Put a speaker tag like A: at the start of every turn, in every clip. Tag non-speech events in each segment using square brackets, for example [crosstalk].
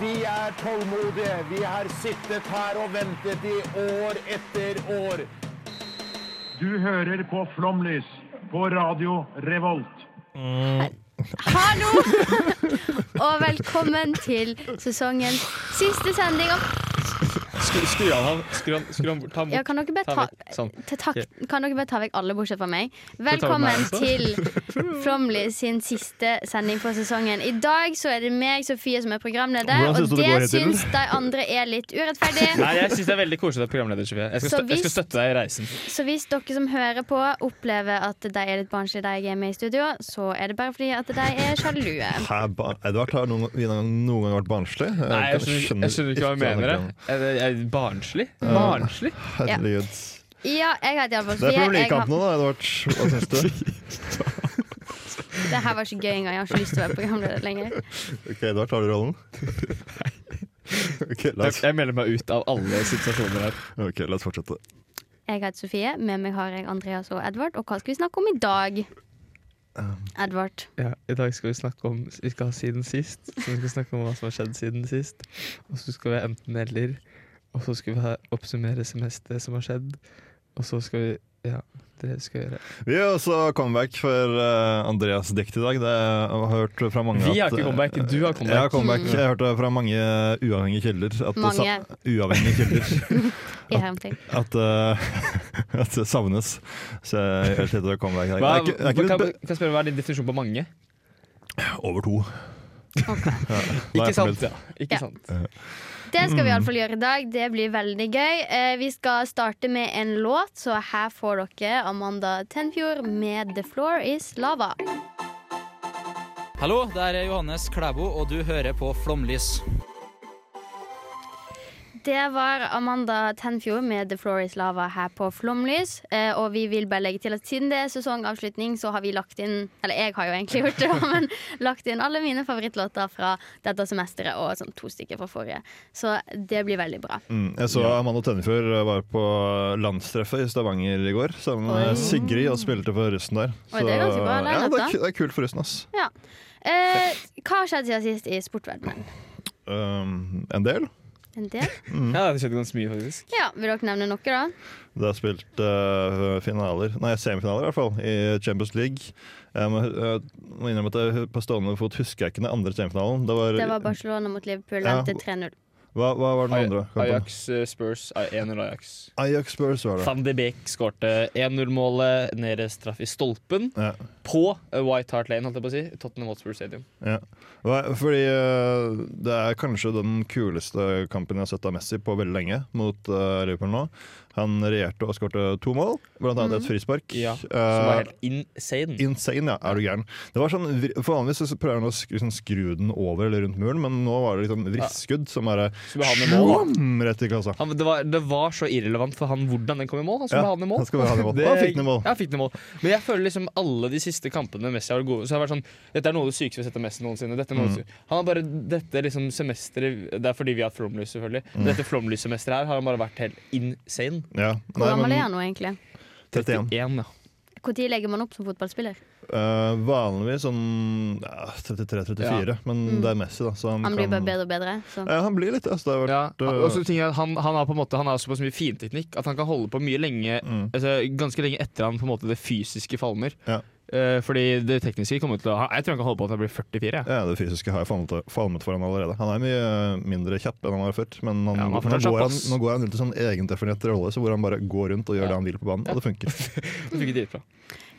A: Vi er tålmodige. Vi har sittet her og ventet i år etter år.
B: Du hører på Flomlys på Radio Revolt.
C: Hallo! Og velkommen til sesongens siste sending. Og-
D: Skru, skru av han. Skru han, skru han bort. Ta bort.
C: Ja, kan, dere bare
D: Ta
C: ta,
D: vekk. Sånn.
C: til tak, kan dere bare ta vekk alle bortsett fra meg?
D: ta vekk
C: Velkommen
D: meg også.
C: til Flomlys sin siste sending for sesongen. I dag så er det meg, Sofie, som er programleder,
E: Hvordan
C: og
E: synes du det går
C: det
E: i tiden?
C: syns de andre er litt urettferdig.
D: Nei, jeg syns det er veldig koselig at du er programleder, Sofie. Jeg skal,
C: Så
D: stø jeg skal
C: hvis-
D: støtte deg i reisen.
C: Så hvis dere som hører på, opplever at de er litt barnslige, de jeg er med i studio, så er det bare fordi at de er sjalue.
E: Hæ, ba er du har klart noen, vi har noen gang vært barnslig? Jeg,
D: Nei, jeg skjønner, jeg skjønner ikke hva du mener. jeg. Er det- er det Barnslig? Barnslig?
E: Herregud.
C: Ja, jeg heter iallfall
E: Det er
C: Sofie. Jeg har-
E: problemkamp nå, da, Edvard. Hva syns
D: [laughs]
E: du?
C: Det her var ikke gøy engang. Jeg har ikke lyst til å være programleder lenger.
E: Ok, Edvard, tar du rollen? [laughs] Ok, la
D: Jeg,
E: oss,
D: jeg melder meg ut av alle situasjoner her.
E: ok, la oss fortsette.
C: Jeg heter Sofie, med meg har jeg Andreas og Edvard. Og hva skal vi snakke om i dag? Edvard.
D: Ja, I dag skal vi snakke om Vi skal ha siden sist. Så vi skal snakke om hva som har skjedd siden sist. Og så skal vi ha enten-eller. Og så skal vi ha oppsummere semesteret som har skjedd. Og så skal vi Ja, det skal vi gjøre.
E: Vi har også comeback for eh, Andreas dikt i dag. Det jeg har hørt fra mange
D: Vi har
E: at,
D: ikke comeback, du har comeback.
E: Jeg har comeback. Jeg har hørt det fra mange uavhengige kilder. At det sa-
C: Mange.
E: uavhengige kilder.
C: I hermetikk.
E: At, eh, [laughs] at det savnes. Så jeg helt etter comeback i dag.
D: Hva,
E: Det er ikke- det er ikke
D: kan,
E: det
D: kan jeg spørre, hva er din definisjon på mange?
E: be- Over to. [laughs]
C: Ok.
E: Da er
D: Ikke
E: jeg
D: sant?
E: fornøyd.
D: Ja. Ikke
C: Ja.
D: sant?
C: Det skal vi iallfall gjøre i dag. Det blir veldig gøy. Eh, Vi skal starte med en låt, så her får dere Amanda Tenfjord med 'The Floor Is Lava'.
F: Hallo, det er Johannes Klæbo, og du hører på Flomlys.
C: Det var Amanda Tenfjord med The Floor is Lava her på Flomlys. Eh, og vi vil bare legge til at siden det er sesongavslutning, så har vi lagt inn Eller jeg har jo egentlig gjort det, [laughs] da, men lagt inn alle mine favorittlåter fra dette semesteret og sånn to stykker fra forrige. Så det blir veldig bra.
E: Mm. Jeg så Amanda Tønnefjord var på landstreffet i Stavanger i går sammen med
C: Oi.
E: Sigrid og spilte for russen der.
C: Oi, det er ganske bra lineup,
E: ja, det,
C: da.
E: er, ku- det er kult for russen, ass.
C: Ja. Eh, hva har skjedd siden sist i sportverdenen?
E: Um, en del.
C: En del?
D: Ja, det skjedde ganske mye, faktisk.
C: Ja, vil dere nevne noe, da?
E: Det er spilt eh, finaler, nei semifinaler i hvert fall, i Champions League. Jeg må, jeg må innrømme at jeg på stående fot husker jeg ikke den andre semifinalen. Det var,
C: Det var Barcelona mot Liverpool,
E: Ja.
C: endte 3-0.
E: hva, hva var den andre? kampen?
D: Ajax eh, Spurs er 1-0 Ajax.
E: Ajax Spurs var det.
D: Van de Beek skårte 1-0-målet, nede straff i stolpen,
E: Ja,
D: på eh, White Hart Lane, holdt jeg på å si. Tottenham Hotspur Stadium.
E: ja. Hva- Fordi eh, det er kanskje den kuleste kampen jeg har sett av Messi på veldig lenge, mot eh, Liverpool nå. Han regjerte og skårte to mål, blant annet et frispark.
D: Mhm. Ja, Som var
E: Eh,
D: helt insane.
E: Insane, ja. Er du gæren? Det var sånn, vri- for Vanligvis så prøver han å sk- liksom, skru den over eller rundt muren, men nå var det liksom vrisskudd som bare
D: Skulle han i mål?
E: Slam! rett i kassa.
D: Han, det, var, det var så irrelevant for han hvordan den kom i mål. Han skulle
E: Ja,
D: ha den i mål.
E: han skulle ha
D: [laughs]
E: den i mål.
D: Det-
E: Han fikk den i mål.
D: Ja, han fikk den i mål. Men jeg føler liksom alle de siste kampene Messi har vært gode, så har det vært sånn Dette er noe av det sykeste vi har sett av Messi noensinne. Dette er noe av
E: Mm.
D: det sy- Han har bare dette liksom semesteret Det er fordi vi har hatt Flomlys, selvfølgelig.
E: Mm.
D: Men dette Flomlys-semesteret her har han bare vært helt insane.
E: Ja.
C: Hvor
E: Nei,
C: gammel er
E: men
C: han nå, egentlig?
E: 31.
D: ja.
C: Når legger man opp som fotballspiller?
E: Eh, vanligvis sånn ja, 33-34, men
D: Mm.
E: det er Messi, da. Så han,
C: Han blir
E: kan-
C: bare bedre og bedre. Så.
E: Ja, han blir litt altså, det har
D: Ja,
E: vært,
D: og
E: eh,
D: så ting er at han, han har på en måte Han har såpass mye finteknikk at han kan holde på mye lenge
C: Mm.
D: altså, ganske lenge etter han på en måte det fysiske falmer.
E: Ja.
D: Eh, fordi det tekniske kommer til å ha Jeg tror han kan holde på til han blir 44. jeg.
E: ja, det fysiske har jeg falmet, falmet for han allerede. Han er mye eh, mindre kjapp enn han var før, men han,
D: Ja, han er
E: nå,
D: fortsatt kjapp,
E: går han,
D: ass.
E: nå går han rundt i sånn egendefinert rolle, så hvor han bare går rundt og gjør
D: Ja.
E: det han vil på banen, og det funker.
D: Det funker dritbra.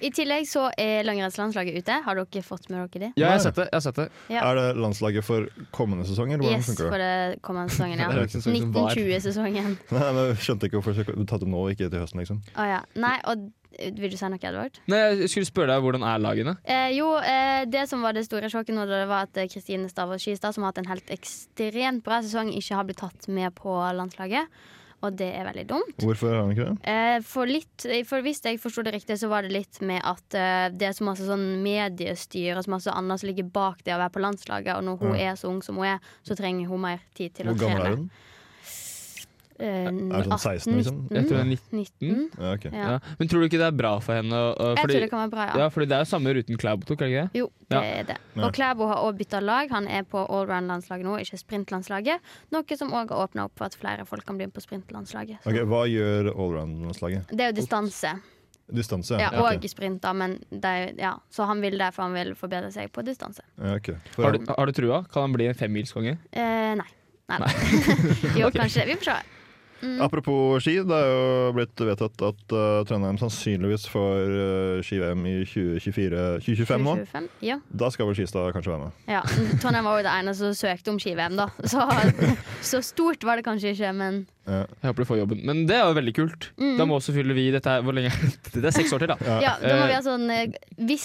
C: I tillegg så er langrennslandslaget ute. Har dere fått med dere det?
D: Ja, jeg har sett det. Jeg har sett det.
C: Ja.
E: Er det landslaget for kommende sesong, eller hvordan
C: Yes,
E: funker
C: for
E: det?
C: det kommende sesongen,
E: [laughs]
C: ja.
D: Det er jo ikke en sesong som var.
C: 1920-sesongen.
E: Nei, men jeg skjønte ikke hvorfor jeg skulle tatt det nå og ikke til høsten, liksom.
C: Å ja. Nei, og vil du si noe, Edvard?
D: Nei, jeg skulle spørre deg hvordan er lagene.
C: Eh, jo, eh, det som var det store sjokket nå, det var at eh, Kristine Stavås Skistad, som har hatt en helt ekstremt bra sesong, ikke har blitt tatt med på landslaget. og det er veldig dumt.
E: Hvorfor har han ikke det?
C: Eh, For, litt, for hvis jeg forsto det riktig, så var det litt med at eh, det er så masse sånn mediestyr og så masse annet som ligger bak det å være på landslaget, og når hun er så ung som hun er, så trenger hun mer tid til å
E: Hvor gammel
C: trene.
E: er hun?
C: Eh,
E: Er hun sånn 16, liksom?
D: Jeg tror det er
C: 19.
D: 19.
E: Ja, Mm. ok.
C: Ja.
D: Ja. Men tror du ikke det er bra for henne? å- å-
C: Jeg
D: fordi,
C: tror det kan være bra, ja.
D: ja, fordi det er jo samme ruten Klæbo tok, er det ikke det?
C: Jo, det
D: Ja.
C: er det.
E: Ja.
C: Og Klæbo har også bytta lag. Han er på allround-landslaget nå, ikke sprintlandslaget. Noe som òg har åpna opp for at flere folk kan bli med på sprintlandslaget. Så
E: Ok, Hva gjør allround-landslaget?
C: Det er jo distanse,
E: Distanse?
C: ja,
E: ok.
C: og sprint, da, men det er, jo- ja. så han vil derfor han vil forbedre seg på distanse.
E: Ja, ok. For,
D: Har du, har du trua? Kan han bli en femmilskonge?
C: Eh, nei. Nei da. [laughs] jo, kanskje. Vi får se.
E: Apropos ski, det er jo blitt vedtatt at eh, Trondheim sannsynligvis får eh, ski-VM i 2024-2025 nå.
C: 2025? Ja.
E: Da skal vel Skistad kanskje være med.
C: ja. Trondheim var jo det ene som søkte om ski-VM, da. Så, så stort var det kanskje ikke, men
D: Jeg håper du får jobben. Men det er jo veldig kult.
C: Mm.
D: Da må selvfølgelig vi dette er, Hvor lenge er det? [laughs] Det er seks år til, da.
C: Ja, da må
D: Eh,
C: vi ha sånn eh, Hvis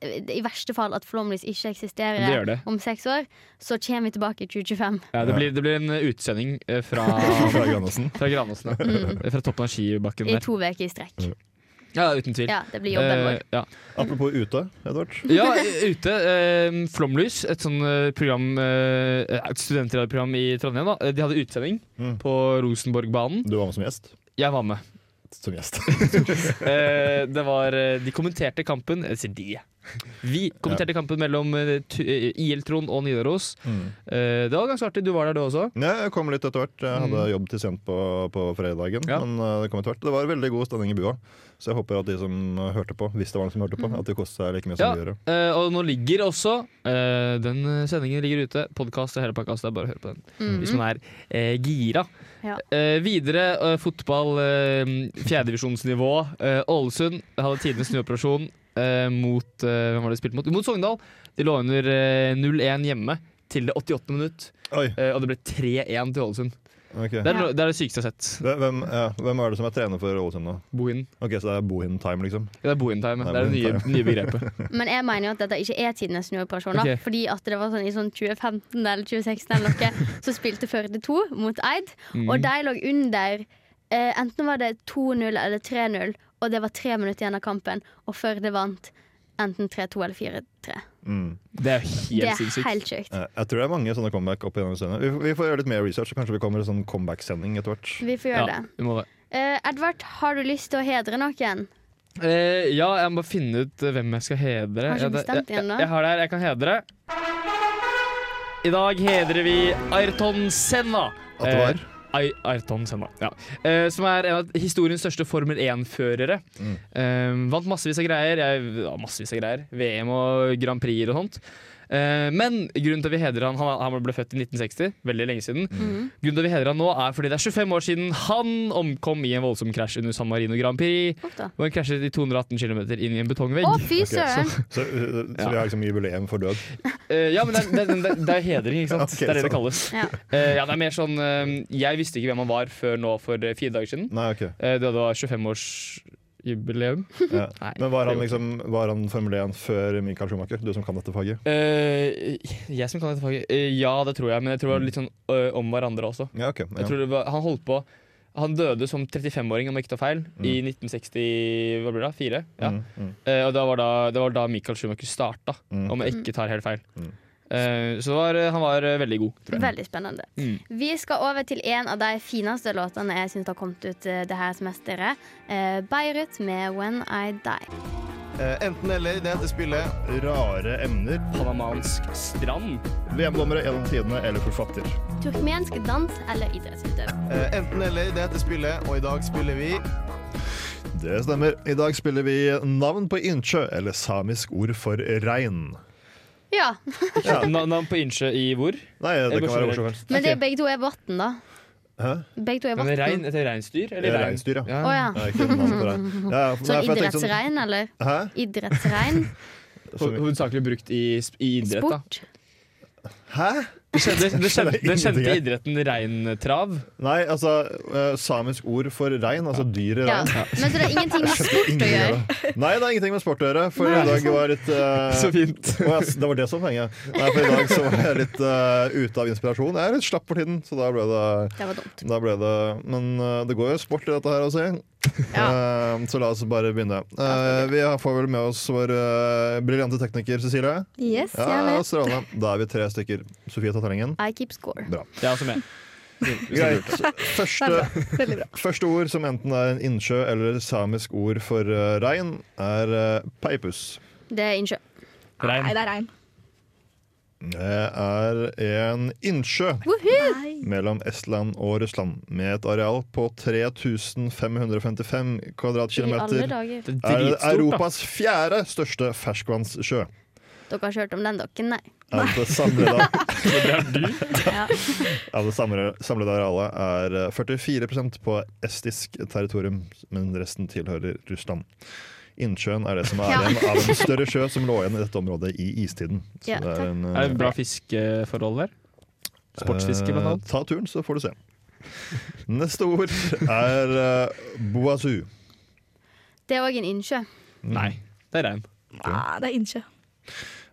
C: eh, i verste fall at flomlys ikke eksisterer
D: Det gjør det.
C: om seks år, så kommer vi tilbake i 2025.
D: Ja, det, blir, det blir en utsending eh, fra,
E: [laughs] Fra Grandåsen.
D: fra Granåsen. ja. Fra toppen av skibakken
C: I
D: der.
C: to uker i strekk.
D: Ja, uten tvil.
C: Ja, det blir jobben
D: Mm. Eh,
C: vår.
D: ja.
E: Apropos ute, Edvard.
D: ja,
C: [laughs]
D: eh, ute. Eh, Flomlys, et sånn eh, program eh, Et studentradioprogram i Trondheim. da Eh, De hadde utsending
E: Mm.
D: på Rosenborgbanen.
E: Du var med som gjest.
D: Jeg var med.
E: Som gjest.
D: Eh, det var, eh, de kommenterte kampen Jeg sier de, jeg. Vi kommenterte kampen mellom eh, Tu- eh, IL Trond og Nidaros.
E: Mm.
D: Eh, det var ganske artig. Du var der, du også.
E: Ja, jeg kom litt etter hvert. Jeg hadde jobb til sent på, på fredagen.
D: Mm. Ja.
E: Men eh, det kom etter hvert. Det var veldig god stemning i bua, så jeg håper at de som hørte på, hvis det var noen som hørte på, at de koste seg like mye
D: Mm. Ja.
E: som vi gjorde.
D: Eh, og nå ligger også eh, Den sendingen ligger ute. Podkast og hele pakka, så det er bare å høre på den.
C: Mm.
D: Hvis man er eh, gira.
C: Mhm. Ja.
D: Eh, videre eh, fotball, eh, fjerdedivisjonsnivå. Eh, Ålesund hadde tidenes snuoperasjon eh, mot eh, Hvem var det de spilte mot? Mot Sogndal. De lå under eh, 0-1 hjemme til det 88. minutt,
E: Oi,
D: eh, og det ble 3-1 til Ålesund.
E: ok.
D: Det er,
C: Ja.
D: det er det sykeste jeg har sett.
E: Det- Hvem, ja, hvem er det som er trener for Ålesund nå?
D: Bohin.
E: Ok, Så det er Bohin-time, liksom?
D: Ja, det er Bohin-time.
E: Det
D: Det
E: er
D: er det nye, nye begrepet.
C: Men jeg mener jo at dette ikke er tidenes snuoperasjon. da.
D: Ok.
C: Fordi at det var sånn i sånn 2015 eller 2016 eller
D: [laughs]
C: noe, så spilte Førde 2 mot Eid, [laughs]
D: Mm.
C: og de lå under eh, Enten var det 2-0 eller 3-0, og det var tre minutter igjen av kampen, og Førde vant enten 3-2 eller 4-3.
E: Mm.
D: Det er
C: Det
D: helt
C: er
D: sinnssykt.
C: helt sjukt.
E: Eh, Jeg tror det er mange sånne comeback opp gjennom scenen. Vi, vi får gjøre litt mer research, så kanskje vi kommer i sånn comeback-sending etter hvert.
C: Vi får gjøre
D: Ja,
C: det.
D: vi må det.
C: Eh, Edvard, har du lyst til å hedre noen?
D: Eh, ja, jeg må bare finne ut eh, hvem jeg skal hedre.
C: Har ikke
D: Ja, det-
C: bestemt
D: jeg,
C: igjen da?
D: jeg, jeg har det her, jeg kan hedre. I dag hedrer vi Ayrton Senna.
E: At det var?
D: Eh, Ay- Ayrton Senna, ja. Eh, som er en av historiens største Formel 1-førere. Eh, vant massevis av greier. Jeg, ja, massevis av greier. VM og Grand Prix og sånt. Eh, men grunnen til at vi hedrer han, han han ble født i 1960, veldig lenge siden.
C: Mhm.
D: Grunnen til at vi hedrer han nå er fordi det er 25 år siden han omkom i en voldsom krasj under San Marino Grand Prix.
C: Opp da.
D: Og han krasjet i 218 km inn i en betongvegg.
C: Å, fy
E: så-
C: søren!
E: [laughs] Så, eh, så vi har liksom jubileum for død.
D: Eh, ja, men det, er- det, det, det er hedring, ikke sant?
E: [laughs] Ok,
D: det er det det
E: sånn.
D: kalles.
C: Ja.
D: Eh, ja, det er mer sånn eh, Jeg visste ikke hvem han var før nå for eh, fire dager siden.
E: Nei, ok.
D: Eh, det var 25-årsjubileum.
E: Ja.
D: Nei,
E: Men var han,
D: det
E: liksom, var han Formel 1 før Michael Schumacher, du som kan dette faget?
D: Eh, jeg som kan dette faget? Eh, ja, det tror jeg, men jeg tror det var litt sånn eh, om hverandre også.
E: Ja, ok. Ja.
D: Jeg tror det var, han holdt på Han døde som 35-åring, om jeg ikke tar feil, i 1960 Hva blir det? da? Fire? Ja.
E: Mm, mm.
D: Eh, og da var da, det var da Michael Schumacher starta,
E: Mm.
D: om jeg ikke tar helt feil.
E: Mm.
D: Eh, så det var, han var eh, veldig god, tror jeg.
C: Veldig spennende.
D: Mm.
C: Vi skal over til en av de fineste låtene jeg syns har kommet ut eh, det her semesteret. Eh, Beirut med 'When I Die'.
E: enten eller, det heter spillet Rare emner.
D: Panamansk strand.
E: VM-dommere gjennom tidene eller forfatter.
C: Turkmensk dans eller idrettsutøver.
A: enten eller, det heter spillet, og i dag spiller vi
E: Det stemmer. I dag spiller vi navn på innsjø, eller samisk ord for rein.
C: Ja,
D: Ja. na- Navn på innsjø i hvor?
E: Nei, det
D: Eller
E: kan være hvor som
D: generelt.
E: helst.
C: Men det, begge to er vann, da.
E: Hæ?
C: Begge to er
D: Men rein,
C: vann.
D: etter reinsdyr?
E: Det
D: Eller
E: er
D: rein?
E: reinsdyr, ja.
C: Å ja.
E: Ja, ikke navn på rein. Ja, ja, for- nei,
C: Sånn
E: for jeg tenkte sånn-
C: idrettsrein, eller?
E: Hæ?
C: Idrettsrein?
D: Sånn- Ho- Hovedsakelig brukt i, sp- i idrett, da.
C: Sport?
E: Hæ?
D: Det kjente, [laughs] det kjente,
E: Skjønner
D: den kjente
E: ingenting.
D: idretten reintrav.
E: Nei, altså eh, samisk ord for rein, altså dyret
C: Ja.
E: rein.
C: Men så det er ingenting med sport å gjøre.
E: Nei, det er ingenting med sport å gjøre, for i dag var litt
D: [laughs]
E: eh,
D: Så fint.
E: Å, ja, det var det som var poenget. Nei, for i dag så var jeg litt eh, ute av inspirasjon. Jeg er litt slapp for tiden, så da ble det,
C: Det var dumt.
E: da ble det Men eh, det går jo sport i dette her også. Eh, så la oss bare begynne. Eh, vi har- får vel med oss vår eh, briljante tekniker Cecilie.
C: Yes, jeg
E: Ja, altså.
C: vet.
E: strålende. Da er vi tre stykker. Sofie tar terrengen.
C: I keep score.
E: Bra.
D: Det er også med.
E: Greit. Første,
C: Veldig bra.
E: første ord som enten er en innsjø eller samisk ord for eh, rein, er eh, peipus.
C: Det er innsjø.
D: Rein.
G: Nei, det er regn.
E: Det er en innsjø.
C: Woohoo!
E: mellom Estland og Russland, med et areal på 3555
C: I alle
E: kvadratkilometer,
C: dager.
D: Det
E: er
D: er dritstort, da.
E: Europas fjerde største ferskvannssjø.
C: Dere har ikke hørt om den, dere? Nei.
E: Av [laughs] det samlede,
D: [laughs]
E: [laughs]
C: Ja.
E: av det samlede, samlede arealet er eh, 44 på estisk territorium, men resten tilhører Russland. Innsjøen er det som er
C: Ja.
E: igjen av en
C: [laughs]
E: større sjø som lå igjen i dette området i istiden. Så
C: Ja,
E: det er en,
D: Er det
E: eh,
D: bra fiskeforhold der? Sportsfiske, blant annet.
E: Eh, Ta turen, så får du se. Neste ord er uh, boazu.
C: Det er òg en innsjø.
D: Nei, det er rein.
G: Nei, det er innsjø.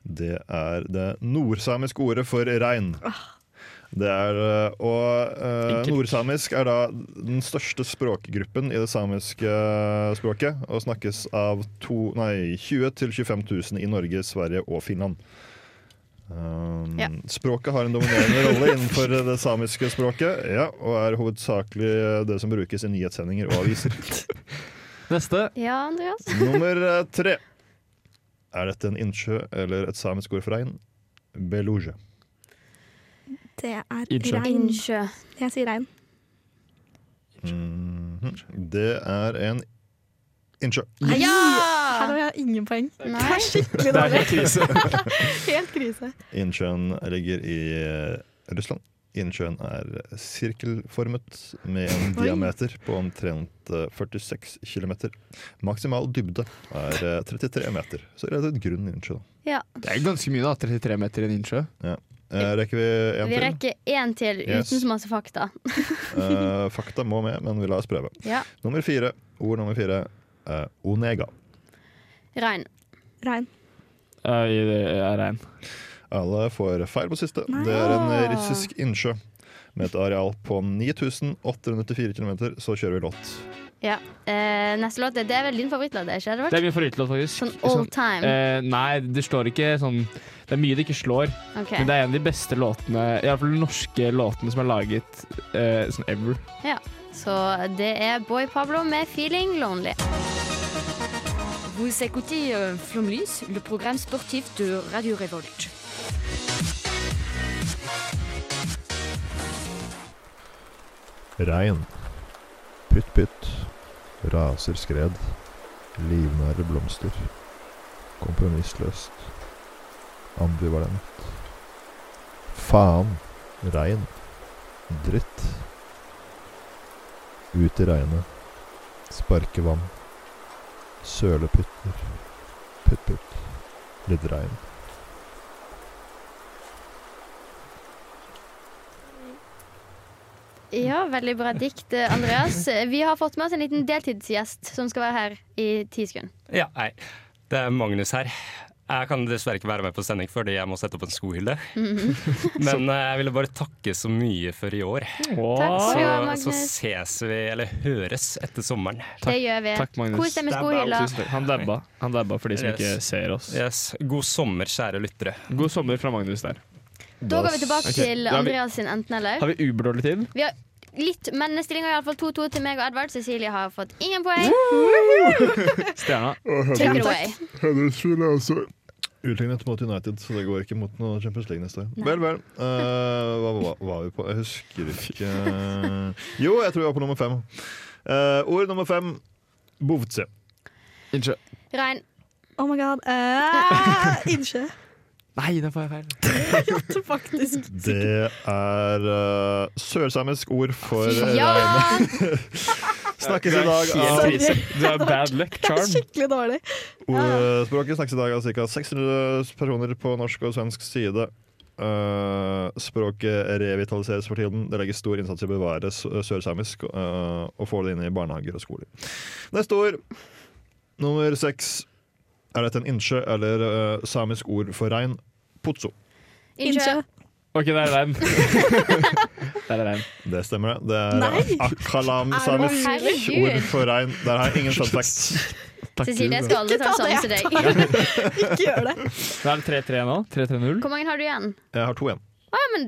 E: Det er det nordsamiske ordet for rein. Det er, eh, og eh,
D: Enkelt.
E: nordsamisk er da den største språkgruppen i det samiske eh, språket, og snakkes av to, nei, 20 000-25 000 i Norge, Sverige og Finland. Um,
C: Ja.
E: Språket har en dominerende rolle innenfor det samiske språket, ja, og er hovedsakelig eh, det som brukes i nyhetssendinger og aviser.
D: Neste.
C: Ja, Andreas?
E: Nummer eh, tre. Er dette en innsjø eller et samisk ord for rein? Beluge.
G: Det er
D: Innsjø.
G: regn.
C: Innsjø.
G: Jeg sier regn.
E: Mhm. Det er en innsjø.
G: Her
C: Ja!
G: har jeg ingen poeng. Det
C: Nei.
G: er skikkelig
D: Det er
G: dårlig.
D: helt krise.
G: [laughs] Helt krise.
E: Innsjøen ligger i eh, Russland. Innsjøen er sirkelformet med en diameter på omtrent eh, 46 km. Maksimal dybde er eh, 33 meter. Så relativt grunn innsjø. da.
C: Ja.
D: Det er ganske mye, da. 33 meter i en innsjø.
E: Eh, Rekker vi én
C: Vi
E: til?
C: rekker én til uten
E: Yes.
C: så masse fakta.
E: Eh, Fakta må med, men vi lar oss prøve.
C: Ja.
E: Nummer fire, Ord nummer fire. eh, Onega.
C: Rein.
G: Regn.
D: Ja, i- det er rein.
E: Alle får feil på siste.
G: Nei.
E: Det er en russisk innsjø med et areal på 9894 km. Så kjører vi låt.
C: Ja. Eh, neste låt er Det er vel din favorittlåt, er ikke det?
D: Det
C: Edvard?
D: er min favorittlåt, faktisk.
C: Sånn all time.
D: eh, nei, det slår ikke sånn Det er mye det ikke slår,
C: Ok.
D: men det er en av de beste låtene, iallfall de norske låtene som er laget eh, sånn ever.
C: Så det er Boy Pablo med 'Feeling Lonely'.
H: Vous écoutez euh, Flomlys, le programme sportif de Radio Révolte.
E: Regn. Pytt, pytt. Raser skred. Livnære blomster. Kompromissløst. Ambivalent. Faen. Regn. Dritt. Ut i regnet. Sparke vann. Søle pytter. Putt, putt. Litt regn.
C: Ja, veldig bra dikt, eh, Andreas. Vi har fått med oss en liten deltidsgjest som skal være her i ti sekunder.
I: Ja, hei. Det er Magnus her. Jeg kan dessverre ikke være med på sending fordi jeg må sette opp en skohylle. Men eh, jeg ville bare takke så mye for i år.
C: Takk
I: Så,
C: skal du ha,
I: så
C: Magnus.
I: ses vi, eller høres, etter sommeren.
C: Det gjør vi.
D: Takk, Magnus.
C: Kos deg med skohylla.
D: Tusen takk. Han dabba. Han dabba for de som
I: Yes.
D: ikke ser oss.
I: Yes. God sommer, kjære lyttere.
D: God sommer fra Magnus der.
C: Da går vi tilbake
D: Ok.
C: til
D: Da har vi-
C: Andreas sin enten-eller.
D: Har vi uberdårlig tid?
C: Vi har litt, men stillinga er iallfall 2-2 til meg og Edvard. Cecilie har fått ingen poeng.
D: [laughs] Stjerna.
C: Take it away.
E: Huddersfield er også utlignet mot United, så det går ikke mot noe Champions League neste år. Vel, vel. Eh, hva hva- hva var vi på? Jeg husker ikke Jo, jeg tror jeg var på nummer fem. Eh, ord nummer fem bovtse.
D: Innsjø.
C: Rein.
G: Oh my god. Eh, [laughs] innsjø.
D: Nei, der får jeg feil.
G: Faktisk.
E: Det er eh, sørsamisk ord for
D: eh,
E: regn.
C: Ja!
E: Snakkes i dag av
G: Sorry. krise.
D: Du har bad luck
G: Det er
D: charm.
G: skikkelig dårlig.
E: Ordspråket snakkes i dag av ca. 600 personer på norsk og svensk side. Eh, språket revitaliseres for tiden. Det legges stor innsats i å bevare s- sørsamisk eh, og få det inn i barnehager og skoler. Neste år, nummer seks. Er dette en innsjø eller eh, samisk ord for rein? Potso.
C: Innsjø.
D: OK, der er reim. der er reim.
E: Det stemmer, det. Det
G: Nei!
E: er akalam-samisk
C: Er det herregud?
E: ord for rein. Der har jeg ingen fun fact.
C: Cecilie, jeg skal aldri ta
G: Ikke ta
C: sånn
G: det,
C: til
G: jeg
C: deg.
G: Ikke gjør det.
D: Da er det 3-3 nå. 3-3-0.
C: Hvor mange har du igjen?
E: Jeg har to igjen.
C: Å, ja, men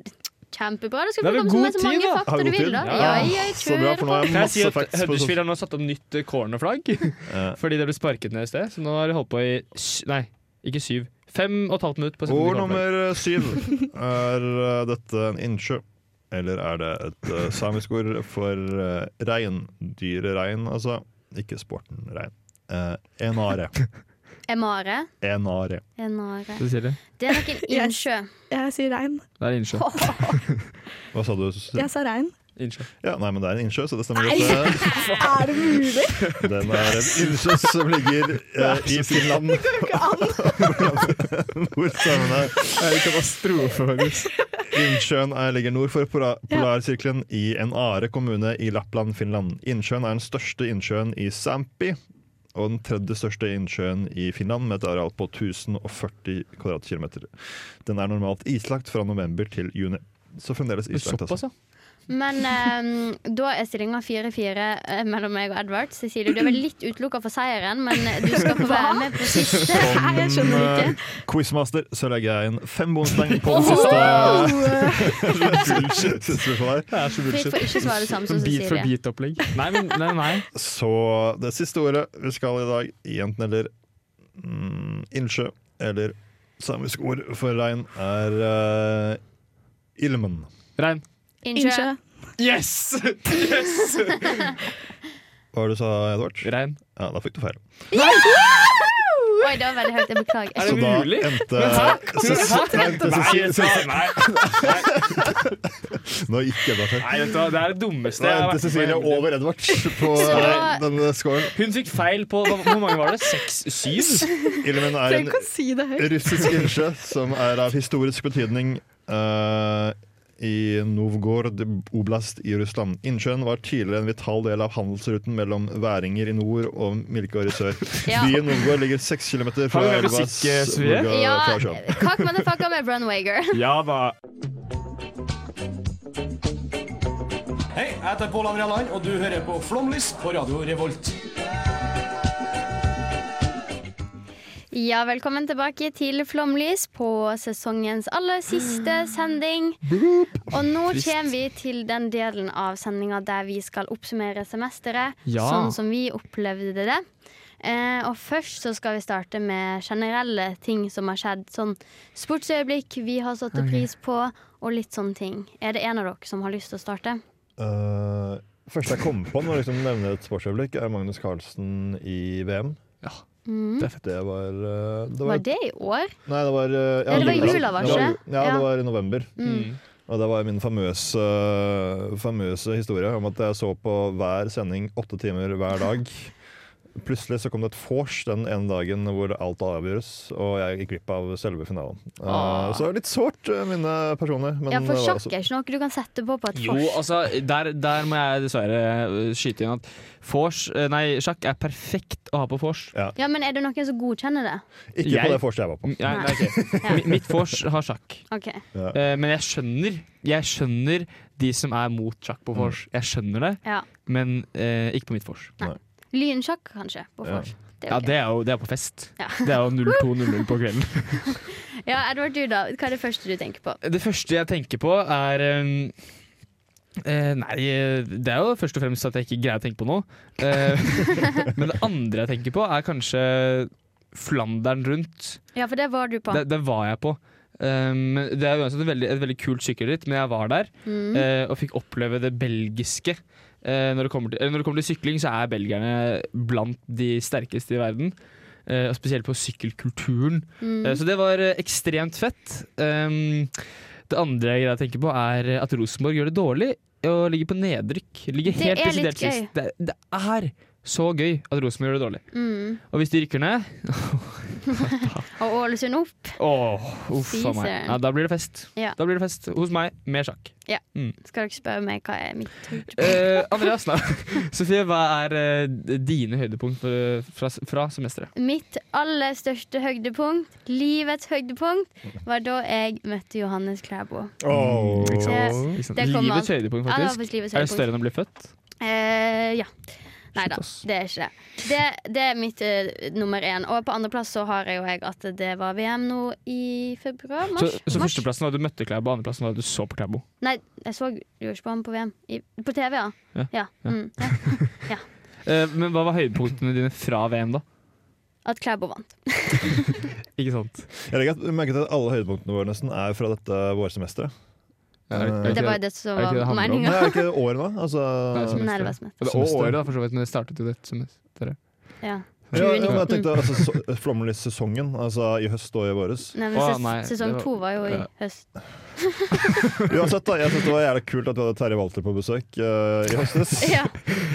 C: kjempebra. Du skal
D: Det
C: få
D: er vel
C: komme med
D: god
C: så mange
D: tid, da.
C: fakta
E: Har
C: du
E: god
C: vil,
E: tid.
C: da.
D: Ja.
C: Ja, jeg
E: Så bra,
C: kjører
E: for
C: på.
E: nå har jeg
D: Kan jeg si
E: masse
D: at
E: facts. på
D: Huddersfield har nå satt opp nytt eh, cornerflagg?
E: Ja.
D: Fordi det ble sparket ned i sted. Så nå har de holdt på i sj- Nei, ikke syv. Fem og et halvt minutt. på å sette nytt
E: Ord
D: cornerflagg.
E: nummer eh, syv. Er eh, dette en innsjø? Eller er det et eh, samisk ord for uh, rein? Dyret rein, altså. Ikke sporten rein. Eh, enare.
C: Emare.
E: Enare.
C: Enare.
D: Cecilie,
C: Det er nok en
G: Yes.
C: innsjø.
G: Jeg sier regn.
D: det er innsjø.
E: Hva sa du? Sus-
G: Jeg sa regn.
D: innsjø.
E: Ja, nei, men det er en innsjø, så det stemmer godt.
G: Er det mulig?
E: Eh, Den er [laughs] en innsjø som ligger eh, i Finland.
G: Ikke an.
E: [laughs] Hvor samene
A: Det er en katastrofe, faktisk.
E: Innsjøen er, ligger nord for pola- polarsirkelen i en are kommune i Lappland, Finland. Innsjøen er den største innsjøen i Sampi og den tredje største innsjøen i Finland med et areal på 1040 kvadratkilometer. Den er normalt islagt fra november til juni. Så fremdeles islagt,
D: Såpass,
E: altså.
D: ja.
C: Men ehm, da er stillinga 4-4 eh, mellom meg og Edvard. Cecilie, du er vel litt utelukka for seieren, men eh, du skal få være med på siste.
G: Nei, jeg skjønner
E: eh,
G: ikke.
E: Quizmaster, så legger jeg inn fem bonuspoeng på den
G: [laughs]
E: siste [laughs] siste spørsmålet her.
D: Det er så
C: Vi
D: bullshit.
C: får ikke svare det samme som
D: Sånn bit for
C: Cecilie.
D: bit-opplegg. Nei, men nei, nei.
E: Så det siste ordet vi skal i dag, i enten eller mm, innsjø eller samisk ord for regn, er eh, ilmen.
D: Rein.
C: Innsjø.
G: Innsjø.
D: Yes!
E: Hva var det du sa, Edvard?
D: Rein.
E: Ja, da fikk du feil.
C: Oi, det var veldig høyt. Jeg beklager.
D: Er det
E: Så da
D: mulig?
E: endte
D: nei, nei.
E: Nå gikk Edvard her.
D: Nei, vet du hva, det er det dummeste
E: Da
D: jeg har vært
E: endte
D: med
E: Cecilie
D: på.
E: over Edvard på
C: Så-
E: denne scoren.
D: Hun fikk feil på hva- Hvor mange var det? Seks? Syv?
E: Ilmen er en
G: Trenger ikke å si det høyt.
E: russisk innsjø som er av historisk betydning eh, i Novgorod oblast i Russland. Innsjøen var tidligere en vital del av handelsruten mellom væringer i nord og Milkeår i sør.
C: Ja.
E: Byen Novgorod ligger seks kilometer fra
D: Har du mer
E: elva
D: musikk, eh, Sofie?
E: Svulga
C: Ja,
E: fra sjøen.
C: Cock motherfucker med Brunwager.
D: Ja da.
J: Hei, jeg heter Pål André Land, og du hører på Flomlys på Radio Revolt.
C: Ja, velkommen tilbake til Flomlys på sesongens aller siste sending. Og nå kommer vi til den delen av sendinga der vi skal oppsummere semesteret
D: Ja.
C: sånn som vi opplevde det. Eh, og først så skal vi starte med generelle ting som har skjedd. Sånn sportsøyeblikk vi har satt pris på, og litt sånne ting. Er det en av dere som har lyst til å starte?
E: Uh, første jeg kom på når jeg liksom nevner et sportsøyeblikk, er Magnus Carlsen i VM. Det var, eh, det var,
C: Var det i år?
E: Nei, det var eh,
C: Ja, det var
E: jula.
C: jula, var det ikke?
E: Ja,
C: Ja.
E: det var i november.
D: Mm.
E: Og det var min famøse, famøse historie om at jeg så på hver sending åtte timer hver dag. Plutselig så kom det et vors den ene dagen hvor alt avgjøres, og jeg gikk glipp av selve finalen. Eh,
D: Ah.
E: så det var litt sårt, eh, mine personer. Men
C: Ja, for
E: det var altså
C: sjakk
E: også-
C: er ikke noe du kan sette på på et
D: eh, altså- Jo,
C: fors.
D: altså, der, der må jeg dessverre øh, skyte inn at vors øh, Nei, sjakk er perfekt å ha på vors.
C: Ja, men er det noen som godkjenner det?
E: Ikke
D: Jeg-
E: på det vorset jeg var på.
D: Nei, nei, ok.
C: Ja.
D: Mi- Mitt vors har sjakk.
C: Ok.
D: Eh, men jeg skjønner Jeg skjønner de som er mot sjakk på vors. Jeg skjønner det,
C: Ja.
D: men eh, ikke på mitt vors.
C: Lynsjakk, kanskje, på
E: Ja.
C: vors. Det er
D: Ja,
C: ok.
D: det er jo det er på fest.
C: Ja.
D: Det er jo 02.00 på kvelden.
C: Ja, Edward, du da. Hva er det første du tenker på?
D: [laughs] Det første jeg tenker på, er ehm, eh, Nei, det er jo først og fremst at jeg ikke greier å tenke på noe. Eh, [laughs] men det andre jeg tenker på, er kanskje Flandern rundt.
C: Ja, for det var du på.
D: Det, det var jeg på. Um, det er uansett et veldig, et veldig kult sykkelritt, men jeg var der
C: Mm.
D: eh, og fikk oppleve det belgiske. Eh, når, det kommer til, eller når det kommer til sykling, så er belgierne blant de sterkeste i verden. Eh, og spesielt på sykkelkulturen.
C: Mm.
D: Eh, så det var eh, ekstremt fett. Um, det andre jeg greier å tenke på, er eh, at Rosenborg gjør det dårlig og ligger på nedrykk. Ligger
C: Det
D: helt
C: er litt
D: desidert sist. Det, det er så gøy at Rosenborg gjør det dårlig.
C: Mm.
D: Og hvis de rykker ned
C: Og Ålesund opp.
D: Åh, uff a meg.
C: Fy søren.
D: Ja, da blir det fest.
C: Ja.
D: Da blir det fest hos meg med sjakk.
C: Ja.
D: Mm.
C: Skal dere spørre meg hva er mitt
D: Eh, Andreas,
C: [laughs]
D: da. Sofie, hva er eh, dine høydepunkt for, eh, fra, fra semesteret?
C: Mitt aller største høydepunkt, livets høydepunkt, var da jeg møtte Johannes Klæbo.
D: Mm, ikke sant?
C: Det-
D: Ikke sant?
C: det kommer
D: livets
C: alt- Ja,
D: høydepunkt,
C: det var
D: faktisk.
C: faktisk livets
D: Er det
C: høydepunkt.
D: større enn å bli født?
C: Eh, ja. Nei da,
D: ass.
C: det er ikke det. Det, det er mitt eh, nummer én. Og på andreplass så har jeg jo jeg at det var VM nå i februar?
D: Så,
C: Mars?
D: så
C: mars?
D: førsteplassen var at du møtte Klæbo, andreplassen var at du så på Klæbo.
C: Nei, jeg så jo ikke på ham på VM. I, på TV, ja.
D: Ja,
C: ja. Mm, ja.
D: Eh, men hva var høydepunktene dine fra VM, da?
C: At Klæbo vant.
D: Ikke sant?
E: Jeg legger at- merke til at alle høydepunktene våre nesten er fra dette vårsemesteret.
D: er
C: Eh, Det var jo det som
D: er det
C: var
D: ikke det det handler om?
E: Men
C: meninga.
E: er det ikke året, da? Altså,
C: semester. Nei, det var semester.
D: Eller, Og året, da, for så vidt, men det startet jo det semesteret.
C: Ja.
E: ja, ja, men jeg
C: 2019.
E: tenkte altså, so Flomlys-sesongen, altså i høst og i våres.
C: Nei, men
D: Å,
C: ses
D: nei,
C: sesong
D: det var-
C: to var jo i
D: ja.
C: høst. [laughs]
E: Uansett, da, jeg synes det var jævlig kult at vi hadde Terje Walter på besøk eh, i høstes.
C: [laughs] Ja.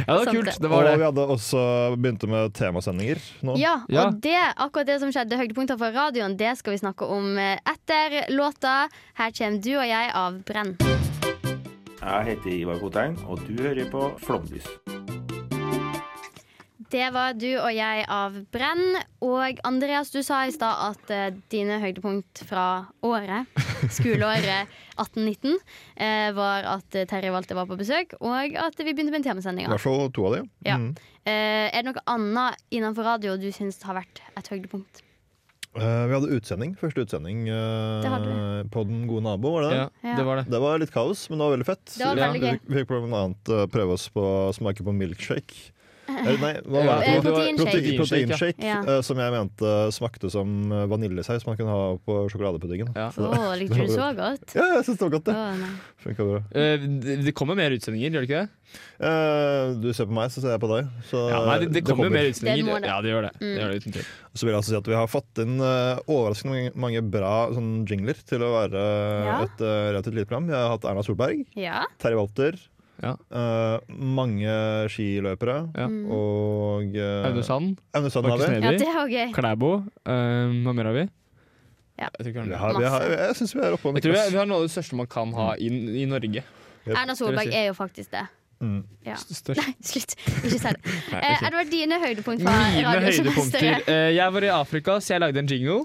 D: Ja, det var
C: Sant
D: kult.
C: det.
D: Det var
E: Og vi
D: det.
E: hadde også begynte med temasendinger nå.
C: Ja,
D: Ja.
C: og det, akkurat det som skjedde høydepunkter fra radioen, det skal vi snakke om eh, etter låta. Her kommer du og jeg av Brenn.
K: Jeg heter Ivar Kotein, og du hører på Flomlys.
C: Det var du og jeg av Brenn. Og Andreas, du sa i stad at eh, dine høydepunkt fra året, skoleåret 1819, eh, var at eh, Terje Walter var på besøk, og at vi begynte med en temasending.
E: I hvert fall to av de.
C: Ja.
E: Mm.
C: Eh, er det noe annet innenfor radio du syns har vært et høydepunkt?
E: Eh, vi hadde utsending, første utsending eh,
C: Det hadde
E: på Den gode nabo, var det det?
D: Ja,
C: Ja.
D: det var det.
E: Det var litt kaos, men det var veldig fett.
C: Det var veldig
E: vi,
C: gøy.
E: vi fikk blant annet eh, prøve oss på å smake på milkshake. Eller nei, hva var det?
C: Eh,
D: det var-
C: proteinshake.
E: Protein- Proteinshake,
C: Ja.
E: eh, som jeg mente smakte som eh, vaniljesaus man kunne ha på sjokoladepuddingen.
D: Ja.
C: Å, likte du det så godt?
E: Ja, jeg syns det var godt, det.
C: Å, nei.
E: Funka bra.
D: Eh, det- det kommer mer utsendinger, gjør det ikke det?
E: Eh, du ser på meg, så ser jeg på deg. Så
D: Ja, nei, det, det kommer mer
C: Det må
D: utsendinger.
C: det. Mm.
D: Ja, det gjør det. det, gjør det uten tvil.
E: Så vil jeg altså si at vi har fått inn eh, overraskende mange, mange bra sånn, jingler til å være
C: Ja.
E: et eh, relativt lite program. Vi har hatt Erna Solberg,
C: Ja.
E: Terje Walter,
D: Ja.
E: eh, mange skiløpere
D: Ja.
C: Mm.
E: og eh,
D: Aune Sand,
E: Aune Sand har
D: Markus
E: vi.
C: ja, det
D: Neby,
C: var gøy.
D: Klæbo. eh, Hva mer har vi?
C: Ja.
D: Jeg tror ikke vi har Mm.
E: vi
D: noe.
E: har, vi har, jeg syns vi er oppe på
D: Jeg tror vi har, vi har noe av det største man kan ha i, i Norge.
C: Erna Solberg er jo faktisk det. Ja.
D: Størst.
C: Nei, slutt. Ikke si det.
D: Nei,
C: Eh,
D: ok.
C: Edvard, dine høydepunkt fra
D: Mine høydepunkter.
C: radiosemesteret.
D: Eh, Jeg var i Afrika, så jeg lagde en jingle.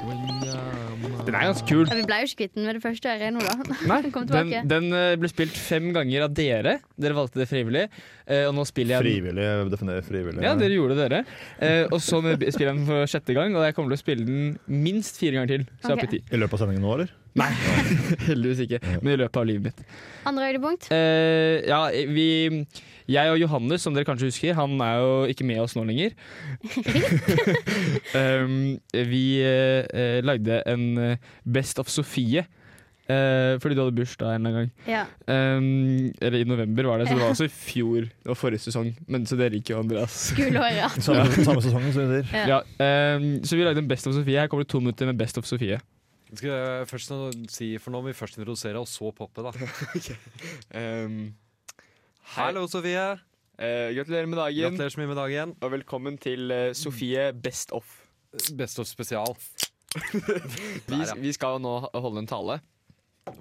D: Den er ganske kul.
C: Ja, vi ble jo ikke kvitt den med det første øret nå, da.
D: Nei,
C: [laughs] Kom
D: den,
C: tilbake.
D: den eh, ble spilt fem ganger av dere. Dere valgte det frivillig. eh, Og nå spiller jeg den-
E: Frivillig. jeg Definerer frivillig.
D: Ja, dere gjorde det, dere. Eh, og så med- spiller jeg den for sjette gang, og jeg kommer til å spille den minst fire ganger til. Så jeg er
C: Ok.
D: oppe i ti.
E: I løpet av sendingen nå, eller?
D: Nei, [laughs] heldigvis ikke. Men i løpet av livet mitt.
C: Andre høydepunkt?
D: Eh, ja, vi Jeg og Johannes, som dere kanskje husker, han er jo ikke med oss nå lenger. [laughs] um, vi eh, eh, lagde en eh, Best of Sofie. eh, fordi du hadde bursdag en eller annen gang.
C: Ja.
D: Um, eller i november var det, så det var også i fjor. Det var forrige sesong, men så dere gikk jo, Andreas.
C: Gullhåret.
E: Samme, samme sesongen, som [laughs] vi sier.
D: Ja, um, så vi lagde en Best of Sofie. Her kommer det to minutter med Best of Sofie.
L: Skal jeg først nå si, for nå må vi først introdusere, og så poppe, da.
D: Um,
L: Hallo, Sofie.
D: eh, gratulerer med dagen,
L: Gratulerer så mye med dagen.
D: og velkommen til eh, Sofie Best of.
L: Best of spesial.
D: Vi,
L: Der, ja.
D: vi skal jo nå holde en tale,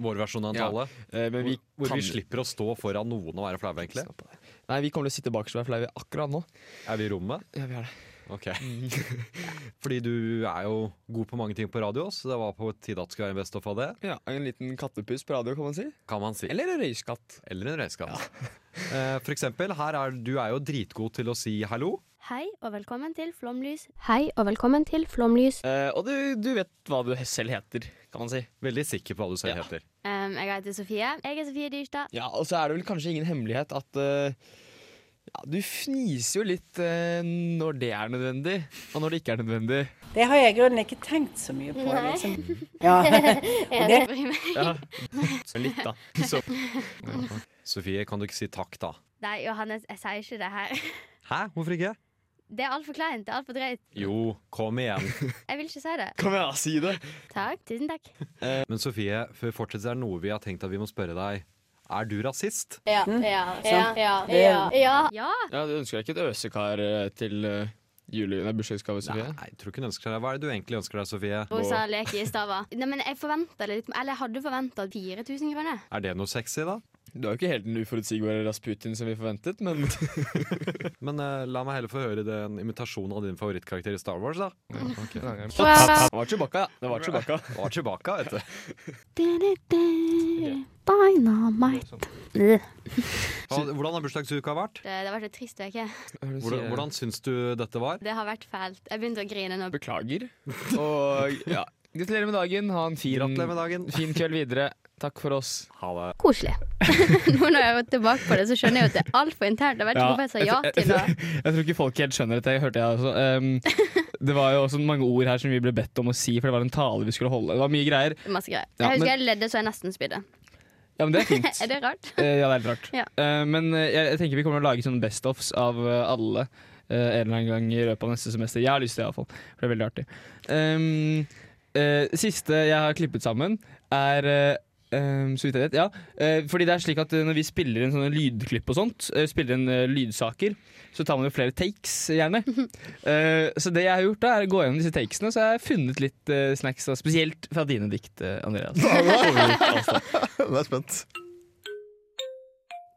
L: Vår versjon av en
D: Ja,
L: tale.
D: eh, men vi
L: Hvor
D: kan
L: vi slipper å stå foran noen og være flaue, egentlig.
D: Nei, vi kommer til å sitte bakerst og være flaue akkurat nå.
L: Er vi i rommet?
D: Ja, vi har det. [laughs]
L: Ok.
D: Mm.
L: [laughs] Fordi du er jo god på mange ting på radio, så det var på tide at det skulle være en best of av det.
D: Ja, En liten kattepus på radio, kan man si.
L: Kan man si.
D: Eller en røyskatt.
L: Eller en røyskatt. [laughs] Eh, for eksempel, her er, du er jo dritgod til å si hallo.
C: Hei og velkommen til Flomlys. Hei og velkommen til Flomlys.
D: Eh, og du, du vet hva du selv heter, kan man si.
L: Veldig sikker på hva du selv
D: Ja.
L: heter.
C: Um, jeg heter Sofie. Jeg er Sofie Dyrstad.
D: Ja, Og så er det vel kanskje ingen hemmelighet at eh, ja, du fniser jo litt eh, når det er nødvendig, og når det ikke er nødvendig.
M: Det har jeg i grunnen ikke tenkt så mye på.
C: Nei.
M: Liksom. Ja.
C: Jeg
M: det-
C: bryr meg.
D: Ja. Litt, [laughs] da. Så.
L: Sofie, kan du ikke si takk, da?
C: Nei, Johannes, jeg sier ikke det her.
L: Hæ, hvorfor ikke?
C: Det er altfor kleint. Det er altfor drøyt.
L: Jo, kom igjen.
D: [laughs]
C: Jeg vil ikke si det.
L: Kom igjen, si det.
C: Takk. Tusen takk.
L: Men Sofie, før vi fortsetter, er det noe vi har tenkt at vi må spørre deg. Er du rasist?
C: Ja. Ja. Ja. Ja.
L: Det-
C: ja.
D: Ja, Du ønsker deg ikke et øsekar eh, til eh, jule- nei, bursdagsgave, Sofie?
L: Nei, jeg tror ikke hun ønsker seg det. Hva er det du egentlig ønsker deg, Sofie?
C: Hun sa leke i stava. Nei, men jeg forventet det litt Eller jeg hadde forventa 4000 kroner.
L: Er det noe sexy, da?
D: Du er jo ikke helt den uforutsigbare Rasputin som vi forventet, men [laughs]
L: Men eh, la meg heller få høre den imitasjonen av din favorittkarakter i Star Wars, da.
D: Det
L: Det
D: var Chewbacca, ja. Det var [laughs] Chewbacca.
L: Det var Chewbacca, vet du.
C: Dynamite. Det,
L: Så, hvordan har bursdagsuka vært?
C: det har vært en trist uke.
L: Hvordan, hvordan syns du dette var?
C: Det har vært fælt. Jeg begynte å grine nå.
D: Beklager. Og ja, gratulerer med dagen. Ha en fin, fin kveld videre. Takk for oss.
L: Ha det.
C: [laughs] Koselig. nå når jeg er tilbake på det, så skjønner jeg jo at det er altfor internt. Jeg vet ikke hvorfor jeg sa ja til det.
D: [laughs] Jeg tror ikke folk helt skjønner dette. Jeg hørte jeg også. Um, det var jo også mange ord her som vi ble bedt om å si, for det var en tale vi skulle holde. Det var mye greier.
C: Masse greier.
D: Ja,
C: Jeg husker
D: men-
C: jeg ledde så jeg nesten spydde. [laughs]
D: Ja, men det er fint.
C: er det rart?
D: Eh, ja, det er litt rart.
C: Ja.
D: Eh, men eh, jeg, jeg tenker vi kommer til å lage sånn best-offs av eh, alle eh, en eller annen gang i løpet av neste semester. Jeg har lyst til det, iallfall. For det er veldig artig. Um, eh, siste jeg har klippet sammen, er eh, um, så vidt jeg vet, ja. eh, fordi det er slik at eh, Når vi spiller inn sånne lydklipp og sånt, eh, spiller inn eh, lydsaker, så tar man jo flere takes, gjerne. Eh, så det jeg har gjort, da er å gå gjennom disse takesene, så jeg har funnet litt eh, snacks. Da, spesielt fra dine dikt, eh, Andreas.
E: [laughs] Nå er jeg spent.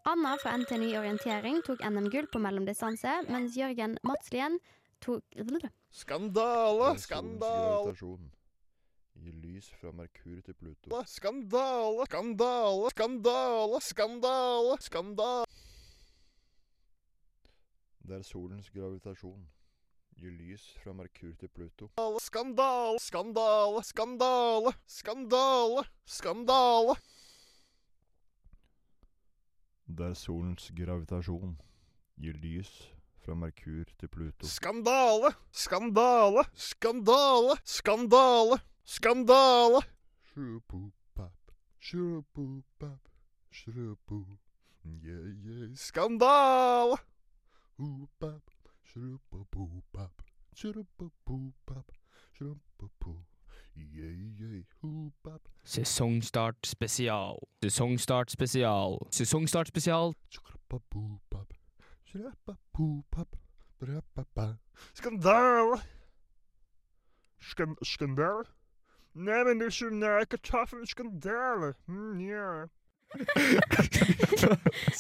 C: Anna fra NTNU orientering tok NM-gull på mellomdistanse, mens Jørgen Madslien tok
E: Skandale!
C: Skandale!
E: I lys fra Merkur til Pluto.
A: Skandale! Skandale! Skandale! Skandale! Skandale!
E: Det er solens gravitasjon. I lys fra Merkur til Pluto.
A: Skandale! Skandale! Skandale! Skandale! Skandale!
E: Det er solens gravitasjon. I lys fra Merkur til Pluto.
A: Skandale! Skandale! Skandale! Skandale! Skandale! Shrubopap, shrubu, yeah, yeah. Skandale! Hoopap, shrubopap, shrubopap, shrubu, yeah, yeah. Hoopap.
D: Sesongstart spesial. Sesongstart spesial. Sesongstart spesial.
A: Shrubopap, brapapa. Skandale! Skan skandale? Nei, men det er ikke nei, kartoffel skandale. Mm, yeah.
E: Det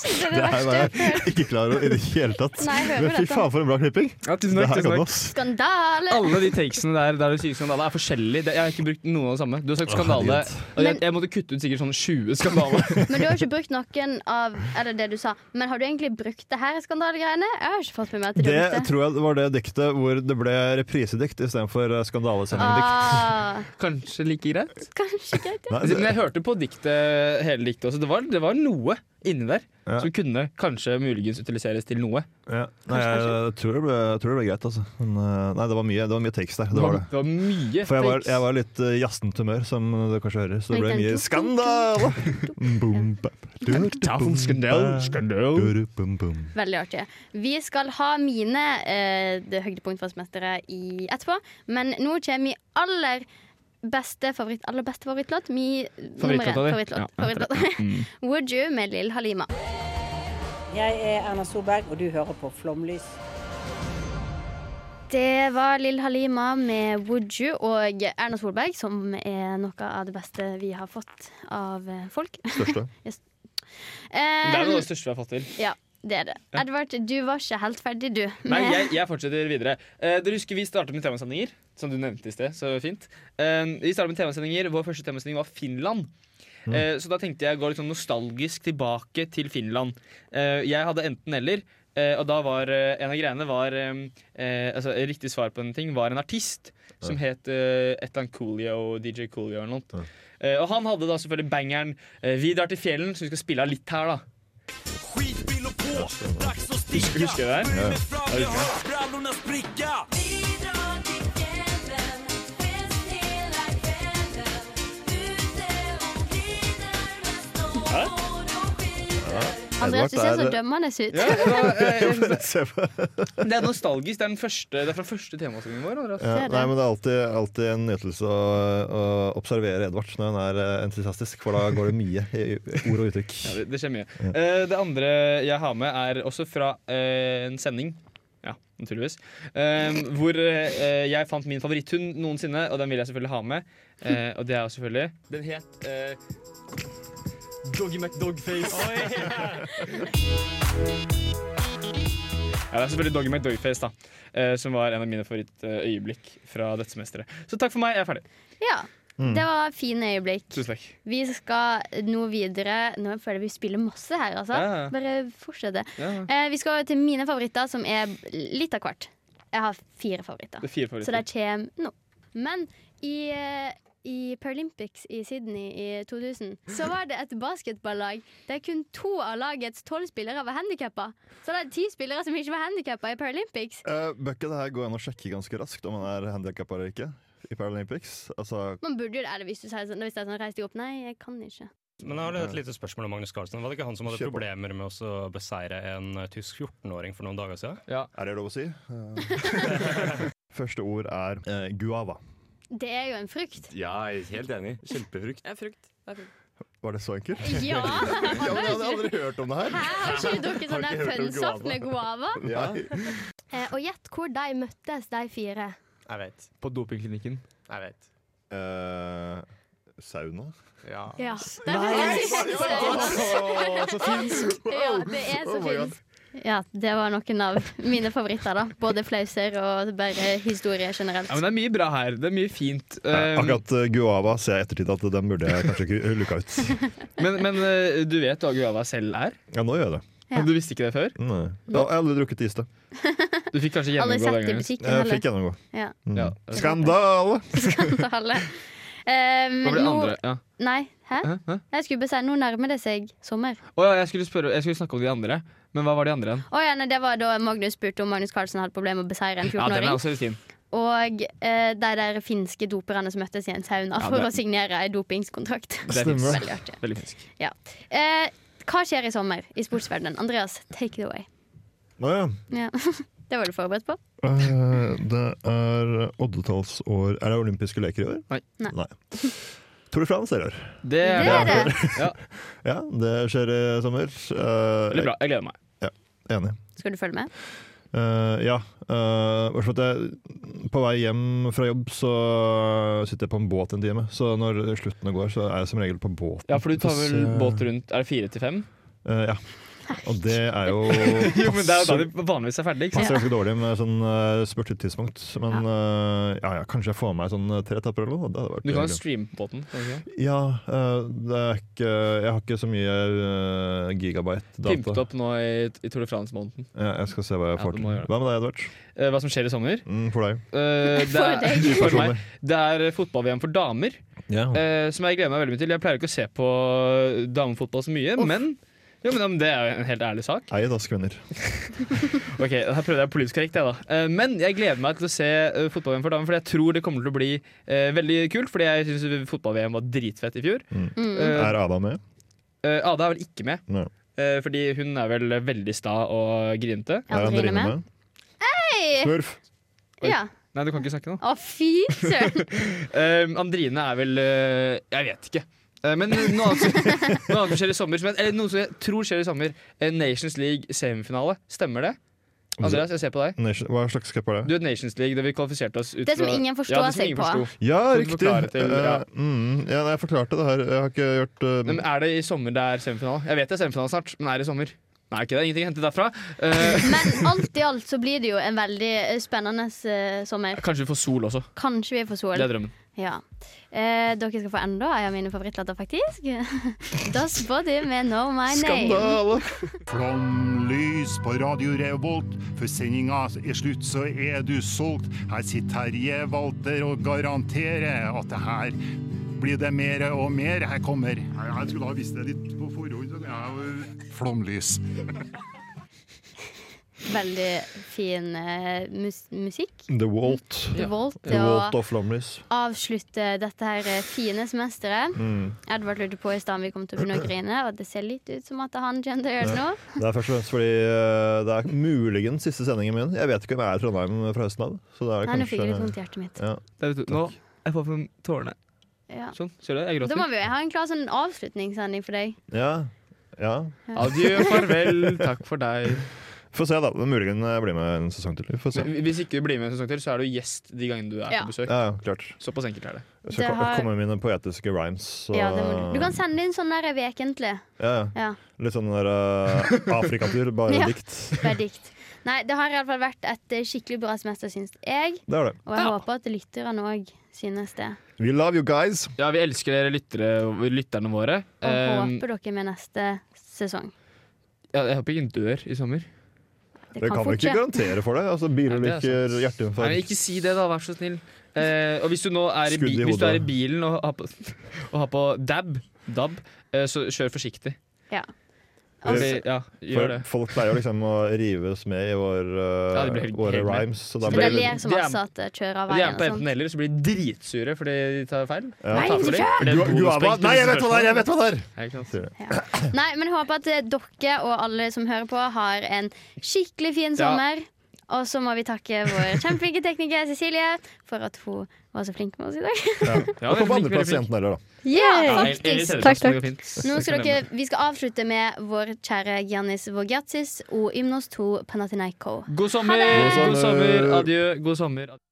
E: her var jeg [laughs] ikke klar over i det hele tatt.
C: Nei, jeg hører
E: Men fy
C: dette.
E: faen, for en bra klipping!
D: tusen takk,
E: det her
D: tusen
E: kan
D: takk.
E: du, ass.
C: Skandale!
D: Alle de takesene der der du sier skandale, er forskjellige. Det- Jeg har ikke brukt noen av det samme. Du har sagt skandale. Og jeg, jeg måtte kutte ut sikkert sånn 20
E: [laughs]
D: skandaler.
C: Men du har ikke brukt noen av Eller det du sa. Men har du egentlig brukt det her skandalegreiene? Jeg har ikke fått med meg at du har
E: Det
C: brukt det.
E: tror jeg var det diktet hvor det ble reprisedikt istedenfor eh, skandalesendingdikt.
C: Ah,
D: Kanskje like greit?
C: kanskje greit, ja.
E: Nei,
D: Men jeg hørte på diktet, hele diktet også. Det var, det var noe inni der
E: Ja.
D: som kunne kanskje muligens utiliseres til noe.
E: Ja. Nei, jeg tror det ble, jeg tror det ble greit, altså. Men, eh, nei, det var mye, det var mye tekst der. Det var det.
D: Det var mye
E: For jeg var,
D: takes.
E: jeg var litt uh, jazzent humør, som du kanskje hører, så det ble mye skandale! Boom, bap, du, boom,
D: skandal,
E: bap,
D: skandal.
E: du, boom, boom.
C: Veldig artig. Vi skal ha mine eh, det høydepunkt fra semesteret i etterpå, men nå kommer min aller beste favoritt Aller beste favorittlåt. Min nummer én
M: Favorittlåta di?
C: favorittlåt.
M: Ja,
C: favorittlåt.
M: Mm.
C: [laughs] Would You med Lill Halima.
M: Jeg er Erna Solberg, og du hører på Flomlys.
C: Det var Lill Halima med Would You og Erna Solberg, som er noe av det beste vi har fått av eh, folk.
E: Største.
C: Yes.
D: Det er noe av
C: Eh,
D: det største vi har fått til.
C: ja, det er det. Edvard, du var ikke helt ferdig, du. [laughs]
D: Nei,
C: med-
D: jeg, jeg fortsetter videre. Eh, dere husker Vi startet med temasendinger, som du nevnte i sted. så fint. Eh, vi startet med temasendinger, Vår første temasending var Finland. Eh, så da tenkte jeg å gå litt sånn nostalgisk tilbake til Finland. Eh, jeg hadde enten-eller. eh, og da var eh, en av greiene var eh, eh, altså, Riktig svar på en ting var en artist som het eh, et eller annet Coolio, DJ Coolio eller noe. Eh, og han hadde da selvfølgelig bangeren eh, 'Vi drar til fjellen', som vi skal spille av litt her, da.
N: Skitbil og på, dags å
D: Husker,
N: sticka
D: husker du det her?
N: Böj mig fram,
D: Ja,
N: jag
D: husker
N: hör
D: det.
N: brallorna spricka
D: Hæ?
C: Andreas, du ser så
D: er-
C: dømmende ut.
D: Ja, det var, eh, [laughs]
E: Ja, men [laughs] det ser jeg på.
D: Det er nostalgisk. Det er, den første, det er fra første temasendingen vår. Andreas.
E: Ja, nei, men Det er alltid, alltid en nytelse å, å observere Edvard når han er eh, entusiastisk, for da går det mye i ord og uttrykk.
D: Ja, det, det skjer mye. Eh, det andre jeg har med, er også fra eh, en sending. Ja, naturligvis. Eh, hvor eh, jeg fant min favoritthund noensinne, og den vil jeg selvfølgelig ha med. Eh, og det er jo selvfølgelig Den het eh, Doggy McDogface. [laughs] Ja, det er selvfølgelig Doggy McDogface, da. eh, som var en av mine favorittøyeblikk fra dette semesteret. Så takk for meg, jeg er ferdig.
C: Ja.
D: Mm.
C: Det var fine øyeblikk.
D: Tusen takk.
C: Vi skal nå videre Nå føler jeg vi spiller masse her, altså.
D: Ja, ja.
C: Bare fortsette.
D: Ja.
C: Eh, vi skal til mine favoritter, som er litt av hvert. Jeg har fire favoritter.
D: Det er fire favoritter.
C: Så de kommer nå. Men i, eh, i Paralympics i Sydney i 2000 så var det et basketballag der kun to av lagets tolv spillere var handikappa. Så det er ti spillere som ikke var handikappa i Paralympics.
E: Uh, Bør ikke det her gå an å sjekke ganske raskt om han er handikappa eller ikke i Paralympics? Altså,
C: Man burde jo det, eller hvis du sier sånn, hvis det er sånn, reis deg opp. Nei, jeg kan ikke.
I: Men jeg har et lite spørsmål om Magnus Carlsen. Var det ikke han som hadde
E: Kjør på.
I: problemer med å så beseire en eh, tysk 14-åring for noen dager siden?
E: Er det lov å si? Eh, [laughs] Første ord er eh, guava.
C: Det er jo en frukt.
O: Ja, jeg er helt enig. Kjempefrukt.
C: Det er frukt. Det er frukt.
E: Var det så enkelt? [laughs]
C: Ja.
E: men Jeg hadde aldri hørt om det her.
C: Hæ, har ikke du drukket sånn
E: Har
C: der
E: ikke hørt om
C: pønnsoft med guava?
E: Nei.
C: Eh, og gjett hvor de møttes, de fire.
O: Jeg vet.
D: På dopingklinikken.
O: Jeg vet.
E: Eh, sauna?
O: Ja.
E: Ah.
C: Ja.
E: Å, så finsk.
C: Ja, det er så
E: Oh my God.
C: finsk. Ja, det var noen av mine favoritter, da. Både flauser og bare historie generelt.
D: Ja, men det er mye bra her. Det er mye fint.
E: Nei,
D: Um,
E: akkurat eh, guava ser jeg i ettertid at den burde jeg kanskje ikke luka ut.
D: [laughs] Men, men eh, du vet hva guava selv er?
E: Ja, nå gjør jeg det.
D: Men Du visste ikke det før?
E: Nei. Jeg har aldri drukket is, da.
D: Du fikk kanskje
C: Aldri
D: gjennomgå
C: sett
D: den
C: i
D: gangen?
C: butikken
E: Jeg fikk gjennomgå.
C: Ja. [laughs]
E: Mm.
D: Ja.
E: Skandale!
C: Skandale. Um,
D: Hva ble det andre? Ja.
C: Nei, hæ?
D: Hæ? Hæ?
C: Jeg skulle bare si, nå nærmer det seg sommer.
D: Å ja, jeg skulle, spørre, jeg skulle snakke om de andre, men hva var de andre igjen?
C: Å ja, nei, det var da Magnus spurte om Magnus Carlsen hadde problemer med å beseire en
D: Ja,
C: 14-åring.
D: den er altså. også litt fin.
C: Og eh, de der finske doperne som møttes i en sauna
D: Ja,
C: for
D: det-
C: å signere en dopingskontrakt.
D: Det er finsk.
C: Veldig artig.
D: Veldig finsk.
C: Ja. Eh, hva skjer i sommer i sportsverdenen? Andreas, take it away.
E: Nå, ja.
C: Ja. [laughs] Det var du forberedt på?
E: Eh, Det er oddetallsår Er det olympiske leker i år?
D: Nei.
C: Nei.
E: Tour de France er i år.
D: Det er
E: Det er
D: det.
E: [laughs] Ja. det skjer i sommer. Veldig
D: Veldig bra. Jeg gleder meg.
E: Ja, enig.
C: Skal du følge med?
E: Eh, ja. eh, bare for at jeg, på vei hjem fra jobb så sitter jeg på en båt en time. Så når sluttene går, så er jeg som regel på båten.
D: Ja, for du tar vel
E: Så-
D: båt rundt Er det fire til fem?
E: Eh, ja. Og det er jo
D: [laughs] Jo, men det er jo da
E: passer-
D: de vanligvis er ferdig, ikke
E: Passer
D: sant?
E: ganske dårlig med sånn uh, spurtetidspunkt. Men eh, ja, ja, kanskje jeg får meg sånn eh, tre etapper eller noe. Det hadde vært
D: Du kan jo
E: hyggelig.
D: streame på båten. kan du ikke?
E: Ja, eh, det er ikke, jeg har ikke så mye eh, gigabyte data.
D: Pimpet opp nå i, i Tour de France-måneden.
E: Ja, jeg skal se hva jeg
D: Ja,
E: får
D: du
E: til.
D: må gjøre det.
E: Hva med deg, Edvard?
D: Eh, Hva som skjer i sommer?
E: Mm, for deg.
D: [laughs] Eh, det,
E: For
D: er,
E: deg.
D: for meg, det er fotball-VM for damer,
E: Ja.
D: eh, som jeg gleder meg veldig mye til. Jeg pleier ikke å se på damefotball så mye, men, jo, men det er jo en helt ærlig sak.
E: Ei dask venner.
D: Ok, Her prøvde jeg politisk korrekt, jeg, da. Eh, Men jeg gleder meg til å se eh, fotball-VM for damer, for jeg tror det kommer til å bli eh, veldig kult. Fordi jeg syns fotball-VM var dritfett i fjor.
E: Mm.
D: Mm.
E: Er Ada med?
D: Eh, Ada er vel ikke med,
E: Nei.
D: eh, fordi hun er vel veldig sta og grinete.
C: Er Andrine Andrine med? med? Hei!
D: Oi.
C: Ja.
D: Nei, du kan ikke snakke nå.
C: Å, fy søren!
D: Um, Andrine er vel eh, Jeg vet ikke. Eh, men noe annet, som- [laughs] noe annet som skjer i sommer, som jeg, eller noe som jeg tror skjer i sommer. Eh, Nations League semifinale. Stemmer det? Andreas, jeg ser på deg.
E: Nation, hva slags cup er
D: Du
E: det?
D: er Nations League, det vi kvalifiserte oss ut
C: Det som
D: fra-
C: ingen forstår
D: ja, det som
C: seg
D: ingen
C: på.
D: forsto.
E: Ja,
D: Kan du
E: riktig!
D: forklare til- ja.
E: Eh, mm, ja, jeg forklarte det her. Jeg har ikke gjort eh,
D: Nei, men er det i sommer det er semifinale? Jeg vet det er semifinale snart, men er det i sommer? Nei, ikke det. Ingenting å hente derfra. Eh,
C: Men alt i alt så blir det jo en veldig eh, spennende eh, sommer.
D: kanskje vi får sol også.
C: Kanskje vi får sol.
D: Det er drømmen.
C: Ja. Eh, dere skal få enda en av mine favorittlåter, faktisk. [laughs] Das Body med No My Name.
P: Flomlys på Radio Revolt, for sendinga er slutt, så er du solgt. Her sitter Terje Walter og garanterer at det her blir det mer og mer. Her kommer Jeg skulle ha visst det litt på forhånd. Flomlys.
C: veldig fin eh, mus musikk.
E: The Walt.
C: The Walt,
E: The
C: ja.
E: Walt of Flomlys.
C: Avslutte dette her eh, fine semesteret.
E: Mm.
C: Edvard lurte på i stad om vi kom til å begynne å grine, og det ser litt ut som at han gender gjør det nå.
E: Det er først og fremst fordi eh, det er muligens siste sendingen min. Jeg vet ikke om jeg er i Trondheim fra høsten av. Så det
C: Nei,
E: er
C: nå
E: kanskje-
C: fikk jeg litt vondt i hjertet mitt.
E: Ja.
D: Nå, jeg får frem tårene.
C: Ja.
D: Sånn, ser du det?
C: Da
D: Jeg gråter.
C: må vi jo ha en klar sånn avslutningssending for deg.
E: ja. ja.
C: Ja. Adjø,
D: farvel, takk for deg.
E: Få se, da. Muligens jeg blir med en sesong til. Vi får se.
D: Men Hvis ikke du blir med en sesong til, så er du gjest de gangene du er
C: Ja.
D: på besøk.
E: Ja, ja, klart.
D: Såpass enkelt er det.
E: Jeg skal
C: Det har-
E: komme med mine poetiske rhymes. Så...
C: Ja, det må du. du kan sende inn sånn der vekentlig.
E: ja, ja.
C: Ja.
E: Litt sånn
C: [laughs]
E: der eh, Afrikatur, bare
C: Ja.
E: dikt.
C: Bare [laughs] dikt. Nei, det har iallfall vært et eh, skikkelig bra semester, syns jeg.
E: Det er det.
C: Og jeg håper at lytterne òg synes det.
E: We love you guys.
D: Ja, vi elsker dere lyttere, lytterne våre.
C: Og
D: Um,
C: håper dere med neste sesong.
D: ja, jeg håper ingen dør i sommer.
E: Det kan vi ikke garantere for det. Altså, Bilulykker,
D: Nei, men
E: hjerteinfarkt
D: ikke si det, da. Vær så snill. Eh, og hvis du nå er i,
E: Skudd
D: bi
E: i
D: hvis du er i
E: hodet.
D: bilen og har på, [laughs] og har på dab, dab eh, så kjør forsiktig.
C: Ja. Altså-
D: Fordi, ja,
E: For
D: gjør det.
E: Folk pleier jo liksom å rives med i vår, eh,
D: Ja, de blir helt-
E: våre
D: helt med.
E: rhymes. Så da
C: Så
E: blir
C: dere
E: det
C: ler så
D: det er-
C: masse at dere kjører av
D: De er
C: veien
D: på
C: og
D: enten
C: sånn.
D: eller, så blir de dritsure fordi de tar feil.
E: Ja.
C: Nei,
D: Taper
C: ikke
D: de,
C: kjør!
D: for det er
E: Gu-
D: bonuspoeng.
E: Guava- Nei, jeg vet hva det er, jeg vet hva det er!
D: Ja, ikke sant?
C: Nei, men jeg håper at eh, dere og alle som hører på, har en skikkelig fin
D: Ja.
C: sommer. Og så må vi takke vår kjempeflinke tekniker Cecilie for at hun var så flink med oss i dag.
E: Ja.
D: Ja,
E: Og kom på
D: veldig flink,
E: andreplass,
D: veldig flink.
E: jentene heller, da.
C: Ja,
D: Ja, Eli
C: faktisk.
D: Tellefsen,
C: Takk,
D: det går
C: takk.
D: fint.
C: Nå
D: Jeg skal
C: skal
D: glemme
C: dere, vi skal avslutte med vår kjære Giannis Vogiatsis og Ymnos 2 Panathinaiko.
D: God
C: Ha
D: sommer!
C: det!
D: God sommer. Adjø. God sommer.